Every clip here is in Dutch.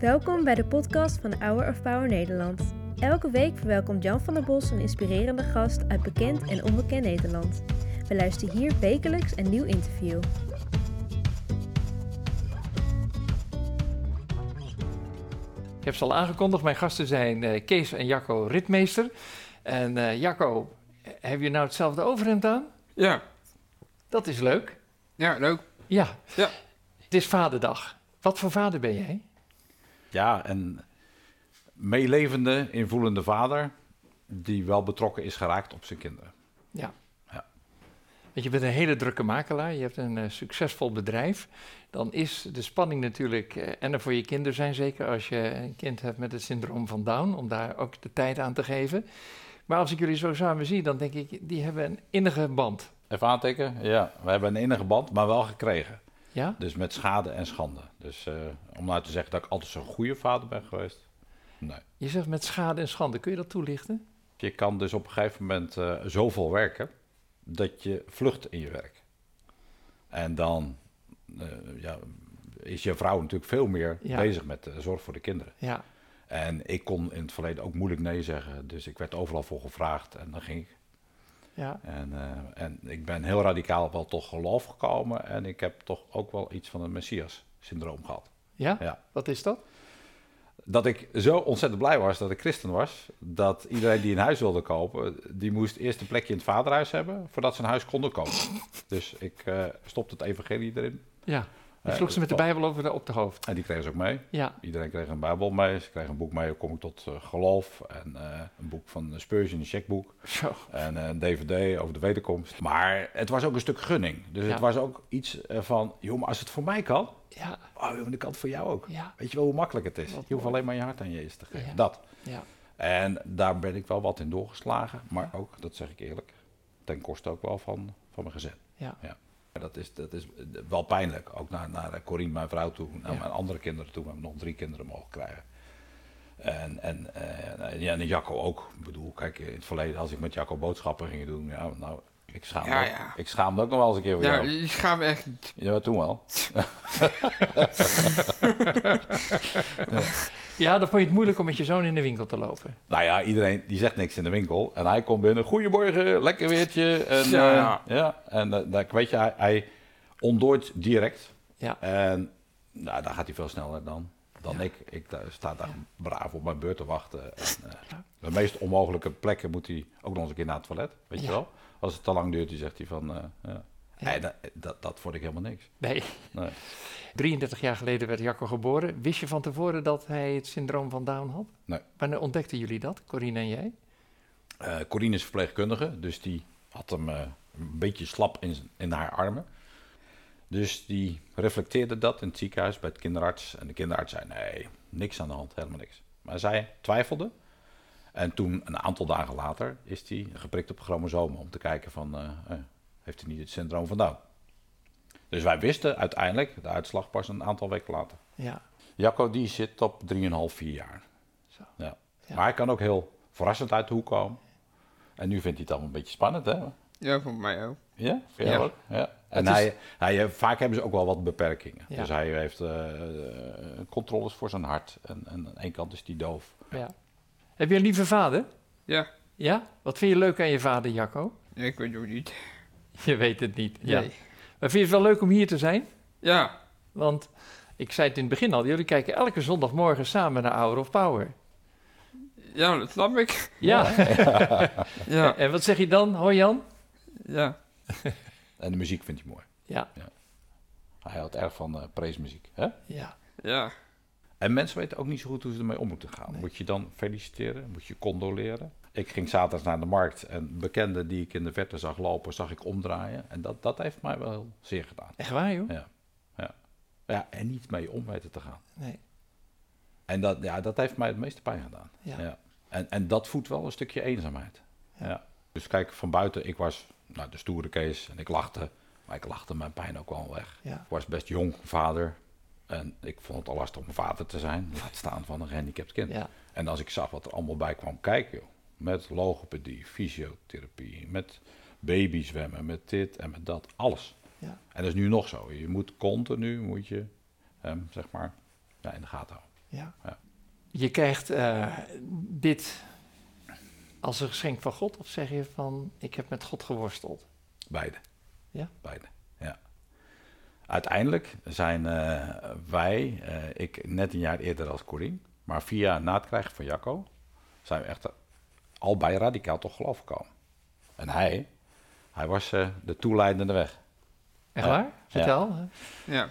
Welkom bij de podcast van Hour of Power Nederland. Elke week verwelkomt Jan van der Bos een inspirerende gast uit bekend en onbekend Nederland. We luisteren hier wekelijks een nieuw interview. Ik heb ze al aangekondigd. Mijn gasten zijn eh, Kees en Jacco Ritmeester. En eh, Jacco, eh, heb je nou hetzelfde overhemd aan? Ja, Dat is leuk. ja, leuk. Ja. Ja. Het is vaderdag. Wat voor vader ben jij? Ja, een meelevende, invoelende vader die wel betrokken is geraakt op zijn kinderen. Want je bent een hele drukke makelaar. Je hebt een eh, succesvol bedrijf. Dan is de spanning natuurlijk, eh, en er voor je kinderen zijn zeker als je een kind hebt met het syndroom van Down, om daar ook de tijd aan te geven. Maar als ik jullie zo samen zie, dan denk ik, die hebben een innige band. Even aantikken? Ja, we hebben een innige band, maar wel gekregen. Ja? Dus met schade en schande. Dus eh, om nou te zeggen dat ik altijd zo'n goede vader ben geweest. Nee. Je zegt met schade en schande. Kun je dat toelichten? Je kan dus op een gegeven moment eh, zoveel werken dat je vlucht in je werk. En dan eh, ja, is je vrouw natuurlijk veel meer Ja. bezig met de zorg voor de kinderen. Ja. En ik kon in het verleden ook moeilijk nee zeggen. Dus ik werd overal voor gevraagd en dan ging ik. ja. En, eh, en ik ben heel radicaal wel toch geloof gekomen. En ik heb toch ook wel iets van een Messias-syndroom gehad. Ja? Ja. Wat is dat? Dat ik zo ontzettend blij was dat ik christen was. Dat iedereen die een huis wilde kopen, die moest eerst een plekje in het vaderhuis hebben. Voordat ze een huis konden kopen. Dus ik eh, stopte het evangelie erin. Ja. Je Eh, sloeg ze met de wat- Bijbel over de, op de hoofd. En die kregen ze ook mee. Ja. Iedereen kreeg een Bijbel mee. Ze kregen een boek mee. Hoe kom ik tot eh, geloof? En eh, een boek van Spurgeon, een checkboek. Zo. En eh, een dvd over de wederkomst. Maar het was ook een stuk gunning. Dus Ja. het was ook iets eh, van, joh, maar als het voor mij kan, Ja. oh, joh, dan kan het voor jou ook. Ja. Weet je wel hoe makkelijk het is? Wat je hoeft mooi. alleen maar je hart aan Jezus te geven. Ja. Dat. Ja. En daar ben ik wel wat in doorgeslagen. Maar ook, dat zeg ik eerlijk, ten koste ook wel van, van mijn gezin. Ja. Maar Dat is, dat is eh, wel pijnlijk. Ook naar, naar eh, Corine, mijn vrouw toe, naar Ja. mijn andere kinderen toe. We hebben nog drie kinderen mogen krijgen. En, en, eh, en, ja, en Jacco ook. Ik bedoel, kijk, in het verleden, als ik met Jacco boodschappen ging doen, ja, nou, ik schaamde, Ja, ook- ja. Ik schaamde ook nog wel eens een keer voor Ja, jou. je gaat me echt niet. Ja, toen wel. ja, dan vond je het moeilijk om met je zoon in de winkel te lopen. Nou ja, iedereen die zegt niks in de winkel. En hij komt binnen, goeiemorgen, lekker weertje. En, Ja, ja, ja. ja, en eh, dan- weet je, hij, hij ontdooit direct. Ja. En nou, daar gaat hij veel sneller dan, dan ik. Ik eh, sta daar braaf op mijn beurt te wachten. En, eh, de meest onmogelijke plekken moet hij ook nog eens een keer naar het toilet. Weet Ja. je wel? Als het te lang duurt, dan zegt hij van... eh, ja. Ja. Nee, dat, dat, dat vond ik helemaal niks. Nee. Nee. 33 jaar geleden werd Jacco geboren. Wist je van tevoren dat hij het syndroom van Down had? Nee. Wanneer ontdekten jullie dat, Corine en jij? Eh, Corine is verpleegkundige, dus die had hem eh, een beetje slap in, zijn- in haar armen. Dus die reflecteerde dat in het ziekenhuis bij het kinderarts. En de kinderarts zei, nee, niks aan de hand, helemaal niks. Maar zij twijfelde. En toen, een aantal dagen later, is hij geprikt op chromosomen... om te kijken van, eh, eh, heeft hij niet het syndroom van Down? Dus wij wisten uiteindelijk de uitslag pas een aantal weken later. Ja. Jacco die zit op 3,5, 4 jaar. Zo. Ja. Ja. Maar hij kan ook heel verrassend uit de hoek komen. En nu vindt hij het allemaal een beetje spannend, hè? Ja, voor mij ook. Ja, vind Ja. je ook? Ja. En is- hij, hij, eh, vaak hebben ze ook wel wat beperkingen. Ja. Dus hij heeft eh, eh, controles voor zijn hart. En, en aan één kant is hij doof. ja. Heb je een lieve vader? Ja, Ja? Wat vind je leuk aan je vader, Jacco? ik weet het ook niet. Je weet het niet. Ja. Nee. Maar vind je het wel leuk om hier te zijn? Ja, Want ik zei het in het begin al, jullie kijken elke zondagmorgen samen naar Hour of Power. ja, dat snap ik. Ja. Ja, En wat zeg je dan? Hoi Jan? ja. En de muziek vindt hij mooi. Ja. Hij houdt erg van eh preesmuziek. Hè? Ja. Ja, En mensen weten ook niet zo goed hoe ze ermee om moeten gaan. Nee. Moet je dan feliciteren? Moet je condoleren? Ik ging zaterdag naar de markt en bekenden die ik in de verte zag lopen, zag ik omdraaien. En dat, dat heeft mij wel heel zeer gedaan. Echt waar, joh? Ja, ja. ja en niet mee om weten te gaan. Nee. En dat, ja, dat heeft mij het meeste pijn gedaan. Ja. En, en dat voedt wel een stukje eenzaamheid. Ja. Dus kijk, van buiten, ik was nou, de stoere Kees en ik lachte. Maar ik lachte mijn pijn ook wel weg. Ja. Ik was best jong vader. En ik vond het al lastig om vader te zijn. Laat staan van een gehandicapt kind. Ja. En als ik zag wat er allemaal bij kwam kijken, joh. Met logopedie, fysiotherapie, met babyzwemmen, met dit en met dat. Alles. Ja. En dat is nu nog zo. Je moet continu moet je ehm, zeg maar, ja, in de gaten houden. Ja. Ja. Je krijgt eh, dit als een geschenk van God, of zeg je van ik heb met God geworsteld? Beide. Ja? Beide, ja. Uiteindelijk zijn eh, wij, eh, ik net een jaar eerder als Corine, maar vier jaar na het krijgen van Jacco, zijn we echt al bij radicaal tot geloof gekomen. En hij, hij was eh, de toeleidende weg. Echt Ja. waar? Vertel. hè? Ja.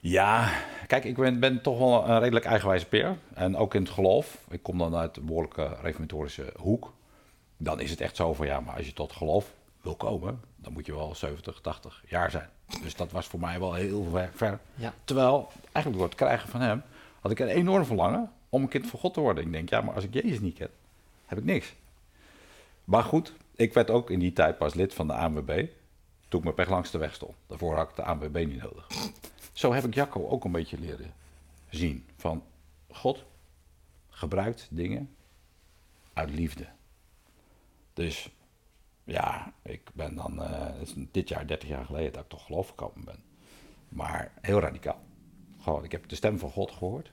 Ja, kijk, ik ben, ben toch wel een redelijk eigenwijze peer. En ook in het geloof. Ik kom dan uit een behoorlijke reformatorische hoek. Dan is het echt zo van, ja, maar als je tot geloof wil komen... dan moet je wel 70, 80 jaar zijn. Dus dat was voor mij wel heel ver. ver. Ja. Terwijl, eigenlijk door het krijgen van hem... had ik een enorm verlangen om een kind van God te worden. Ik denk, ja, maar als ik Jezus niet ken, heb ik niks. Maar goed, ik werd ook in die tijd pas lid van de ANWB... toen ik mijn pech langs de weg stond. Daarvoor had ik de ANWB niet nodig zo heb ik Jacco ook een beetje leren zien. Van God gebruikt dingen uit liefde. Dus ja, ik ben dan eh, het is dit jaar 30 jaar geleden dat ik toch geloof gekomen ben. Maar heel radicaal. Gewoon, ik heb de stem van God gehoord.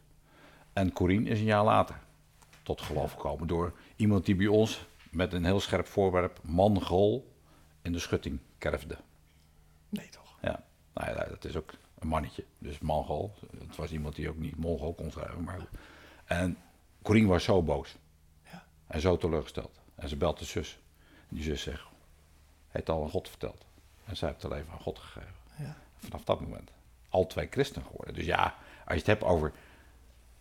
En Corine is een jaar later tot geloof gekomen door iemand die bij ons met een heel scherp voorwerp mangool in de schutting kerfde. Nee toch? Ja, nou ja, dat is ook een mannetje. Dus Mongool. Het was iemand die ook niet Mongool kon schrijven. Maar... goed. En Corine was zo boos. Ja. En zo teleurgesteld. En ze belt de zus. En die zus zegt, hij heeft al aan God verteld. En zij heeft het leven aan God gegeven. Ja. Vanaf dat moment. Al twee christen geworden. Dus ja, als je het hebt over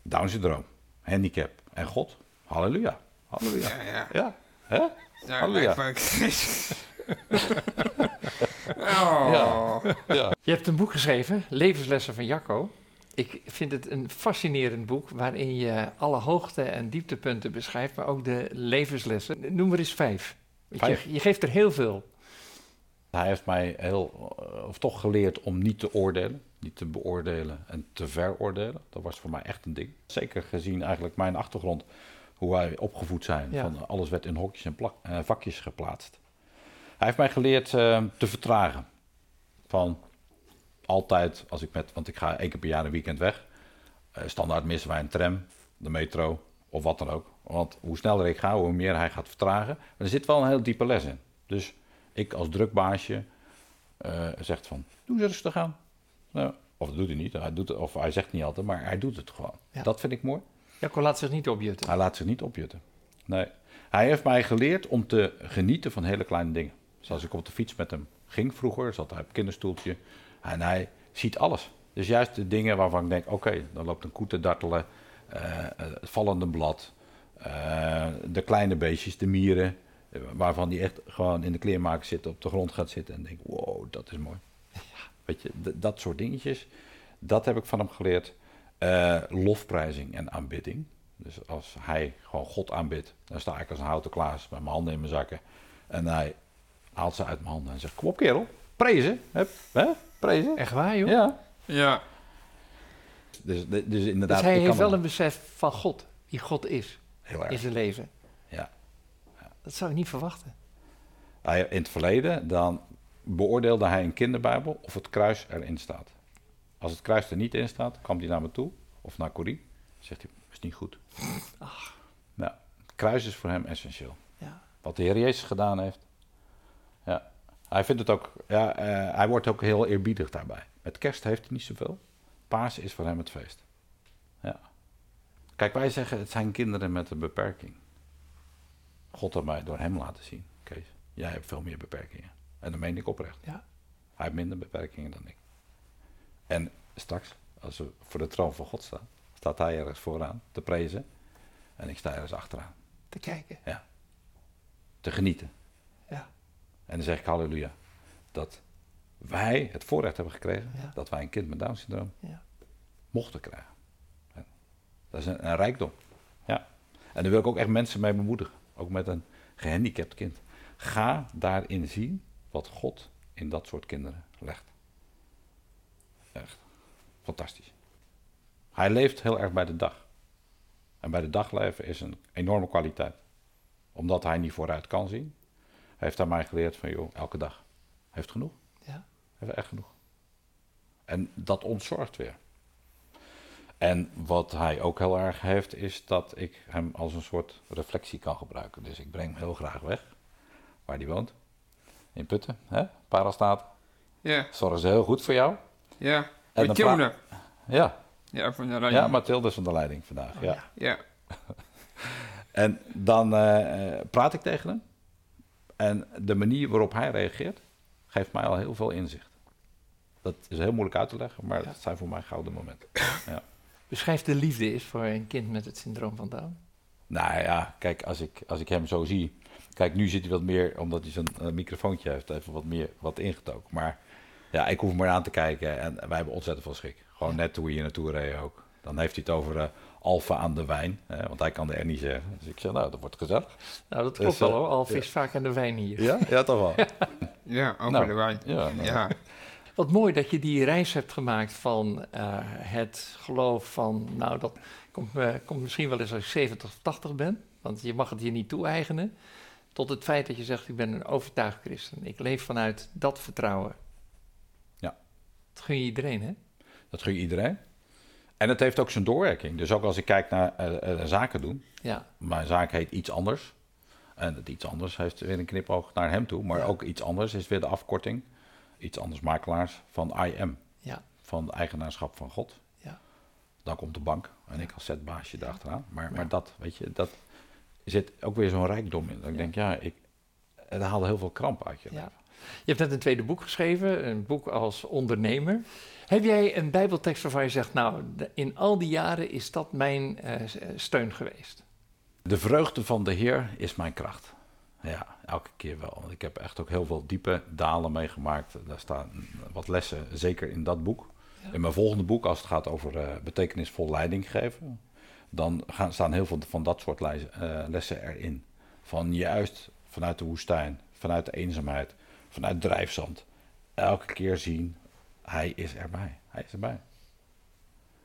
Down syndroom, handicap en God. Halleluja. Halleluja. Ja, ja. Ja. Hè? Ja, Halleluja. lijkt me een Christus. Oh. Ja. Je hebt een boek geschreven, Levenslessen van Jacco. Ik vind het een fascinerend boek waarin je alle hoogte- en dieptepunten beschrijft, maar ook de levenslessen. Noem er eens vijf. Want Vijf. Je, je geeft er heel veel. Hij heeft mij heel, eh, of toch geleerd om niet te oordelen, niet te beoordelen en te veroordelen. Dat was voor mij echt een ding. Zeker gezien eigenlijk mijn achtergrond, hoe wij opgevoed zijn. Ja. Van eh, alles werd in hokjes en plak- eh, vakjes geplaatst. Hij heeft mij geleerd eh, te vertragen. Van altijd, als ik met, want ik ga één keer per jaar een weekend weg. Eh, standaard missen wij een tram, de metro of wat dan ook. Want hoe sneller ik ga, hoe meer hij gaat vertragen. Maar er zit wel een heel diepe les in. Dus ik als drukbaasje eh, zegt van, doe eens rustig aan. Nou, of dat doet hij niet, hij doet het, of hij zegt niet altijd, maar hij doet het gewoon. Ja. Dat vind ik mooi. Jacco laat zich niet opjutten. Hij laat zich niet opjutten. Nee. Hij heeft mij geleerd om te genieten van hele kleine dingen. Zoals ik op de fiets met hem ging vroeger, zat hij op een kinderstoeltje. En hij ziet alles. Dus juist de dingen waarvan ik denk, oké, dan loopt een koe te dartelen, eh, het vallende blad, eh, de kleine beestjes, de mieren, eh, waarvan die echt gewoon in de kleermaker zitten, op de grond gaat zitten en denkt, wow, dat is mooi. Weet je, d- dat soort dingetjes, dat heb ik van hem geleerd. Eh, lofprijzing en aanbidding. Dus als hij gewoon God aanbidt, dan sta ik als een houten klaas met mijn handen in mijn zakken. En hij haalt ze uit mijn handen en zegt, kom op kerel, prezen. Hup, hè, prezen. Echt waar, joh? Ja. Ja. Dus, dus Dus inderdaad, hij ik kan heeft wel hem- een besef van God, wie God is Heel in erg. zijn leven. Ja. Dat zou ik niet verwachten. Hij, in het verleden, dan beoordeelde hij een kinderbijbel of het kruis erin staat. Als het kruis er niet in staat, kwam hij naar me toe, of naar Corrie. Zegt hij, is niet goed. Nou, het kruis is voor hem essentieel. Ja. Wat de Heer Jezus gedaan heeft. Ja. Hij vindt het ook, ja, eh, hij wordt ook heel eerbiedig daarbij. Met kerst heeft hij niet zoveel. Paas is voor hem het feest. Ja. Kijk, wij zeggen, het zijn kinderen met een beperking. God had mij door hem laten zien. Kees, jij hebt veel meer beperkingen. En dat meen ik oprecht. Ja. Hij heeft minder beperkingen dan ik. En straks, als we voor de troon van God staan, staat hij ergens vooraan te prezen. En ik sta ergens achteraan Te kijken. te genieten. Ja. En dan zeg ik halleluja. Dat wij het voorrecht hebben gekregen Ja. dat wij een kind met Down syndroom Ja. mochten krijgen. En Dat is een, een rijkdom. Ja. En daar wil ik ook echt mensen mee bemoedigen. Ook met een gehandicapt kind. Ga daarin zien wat God in dat soort kinderen legt. Echt. Fantastisch. Hij leeft heel erg bij de dag. En bij de dagleven is een enorme kwaliteit. Omdat hij niet vooruit kan zien, heeft hij mij geleerd van, joh, elke dag heeft genoeg. Ja. Heeft echt genoeg. En dat ontzorgt weer. En wat hij ook heel erg heeft, is dat ik hem als een soort reflectie kan gebruiken. Dus ik breng hem heel graag weg, waar hij woont. In Putten, hè? Parastaat. Ja, Zorgen ze heel goed voor jou. ja. dan Met Tune. Ja, Ja, van de Rijn. ja Mathilde is van de leiding vandaag. ja. Ja, En dan eh, eh, praat ik tegen hem. En de manier waarop hij reageert, geeft mij al heel veel inzicht. Dat is heel moeilijk uit te leggen, maar dat zijn voor mij gouden momenten. Beschrijf de liefde is voor een kind met het syndroom van Down. Nou ja, kijk, als ik, als ik hem zo zie. Kijk, nu zit hij wat meer, omdat hij zo'n eh, microfoontje heeft, even wat meer wat ingetoken. Maar ja, ik hoef hem maar aan te kijken en wij hebben ontzettend veel schik. Gewoon net toen we hier naartoe reden ook. Dan heeft hij het over eh, alfa aan de wijn, hè, want hij kan de R niet zeggen. Dus ik zeg, nou, dat wordt gezellig. Nou, dat Dus, klopt wel eh, hoor. Al ja. vis vaak aan de wijn hier. Ja, ja toch wel. ja over Nou, de Rijn. Ja, nou, Ja, Wat mooi dat je die reis hebt gemaakt van eh, het geloof van, nou dat komt, me- komt misschien wel eens als ik 70 of 80 ben, want je mag het hier niet toe-eigenen, tot het feit dat je zegt, ik ben een overtuigd christen. Ik leef vanuit dat vertrouwen. Ja. Dat gun je iedereen, hè? Dat gun je iedereen. En het heeft ook zijn doorwerking. Dus ook als ik kijk naar eh, eh, zaken doen. Ja, Mijn zaak heet iets anders. En het iets anders heeft weer een knipoog naar hem toe. Maar ook iets anders is weer de afkorting. Iets anders makelaars van IM. ja, Van eigenaarschap van God. ja. Dan komt de bank. En ik als zetbaasje daarachteraan. Maar, maar dat, weet je, dat zit ook weer zo'n rijkdom in. Dat ik denk, ja, ik, het haalde heel veel kramp uit je. ja. Je hebt net een tweede boek geschreven, een boek als ondernemer. Heb jij een bijbeltekst waarvan je zegt, nou, de- in al die jaren is dat mijn eh, s- eh, steun geweest? De vreugde van de Heer is mijn kracht. Ja, elke keer wel. Want ik heb echt ook heel veel diepe dalen meegemaakt. Daar staan wat lessen, zeker in dat boek. In mijn volgende boek, als het gaat over eh, betekenisvol leiding geven, dan gaan, staan heel veel van dat soort lijzen- eh, lessen erin. Van juist vanuit de woestijn, vanuit de eenzaamheid, vanuit drijfzand. Elke keer zien, hij is erbij. Hij is erbij.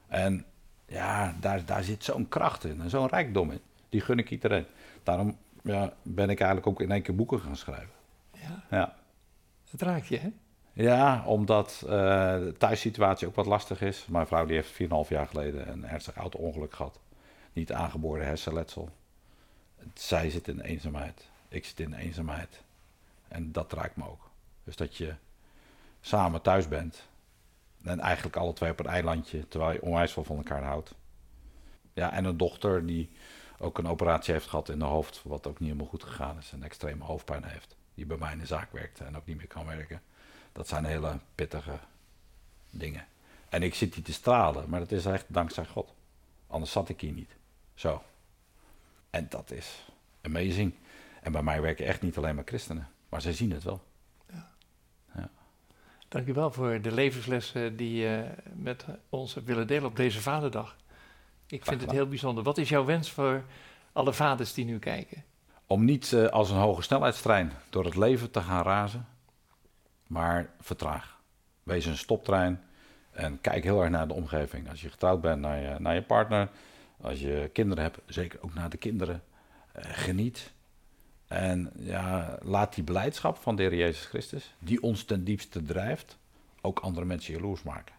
En ja, daar, daar zit zo'n kracht in en zo'n rijkdom in. Die gun ik iedereen. Daarom ja, ben ik eigenlijk ook in één keer boeken gaan schrijven. Ja, Ja, dat raakt je, hè? ja omdat eh, de thuissituatie ook wat lastig is. Mijn vrouw die heeft 4,5 jaar geleden een ernstig auto-ongeluk gehad. Niet aangeboren hersenletsel. Zij zit in eenzaamheid. Ik zit in eenzaamheid. En dat raakt me ook. Dus dat je samen thuis bent. En eigenlijk alle twee op een eilandje, terwijl je onwijs veel van elkaar houdt. Ja, en een dochter die ook een operatie heeft gehad in haar hoofd, wat ook niet helemaal goed gegaan is. En extreme hoofdpijn heeft, die bij mij in de zaak werkte en ook niet meer kan werken. Dat zijn hele pittige dingen. En ik zit hier te stralen, maar dat is echt dankzij God. Anders zat ik hier niet. Zo. En dat is amazing. En bij mij werken echt niet alleen maar christenen, maar zij zien het wel. Dank u wel voor de levenslessen die je met ons hebt willen delen op deze Vaderdag. Ik vind het gedaan. heel bijzonder. Wat is jouw wens voor alle vaders die nu kijken? Om niet eh, als een hoge snelheidstrein door het leven te gaan razen, maar vertraag. Wees een stoptrein en kijk heel erg naar de omgeving. Als je getrouwd bent, naar je, naar je partner. Als je kinderen hebt, zeker ook naar de kinderen. Eh, geniet. En ja, laat die blijdschap van de Heer Jezus Christus, die ons ten diepste drijft, ook andere mensen jaloers maken.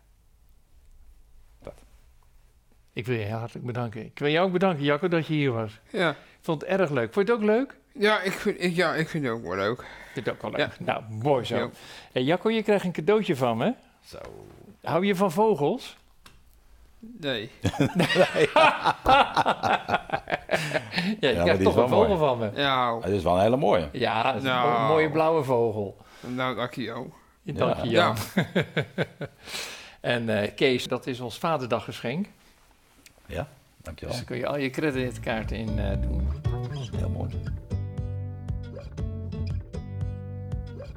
Ik wil je heel hartelijk bedanken. Ik wil jou ook bedanken, Jacco, dat je hier was. ja. Ik vond het erg leuk. Vond je het ook leuk? Ja, ik vind, ik, ja, ik vind het ook wel leuk. Ik vind het ook wel Ja. leuk. Nou, mooi zo. Ja. Hey, Jacco, je krijgt een cadeautje van me. Zo. Hou je van vogels? Nee. Ja, je maar die krijgt is toch wel een vogel van mooi. me. Ja, Het is wel een hele mooie. Ja, dat is Nou. een mooie blauwe vogel. nou, dank je wel. Dank je, Ja. Jan. En eh, Kees, dat is ons Vaderdaggeschenk. Ja, Dus dankjewel. daar kun je al je creditkaarten in eh, doen. Heel mooi.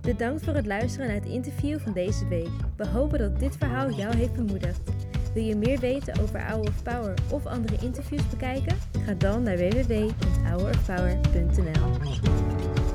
Bedankt voor het luisteren naar het interview van deze week. We hopen dat dit verhaal jou heeft bemoedigd. Wil je meer weten over Hour of Power of andere interviews bekijken? Ga dan naar www.hourofpower.nl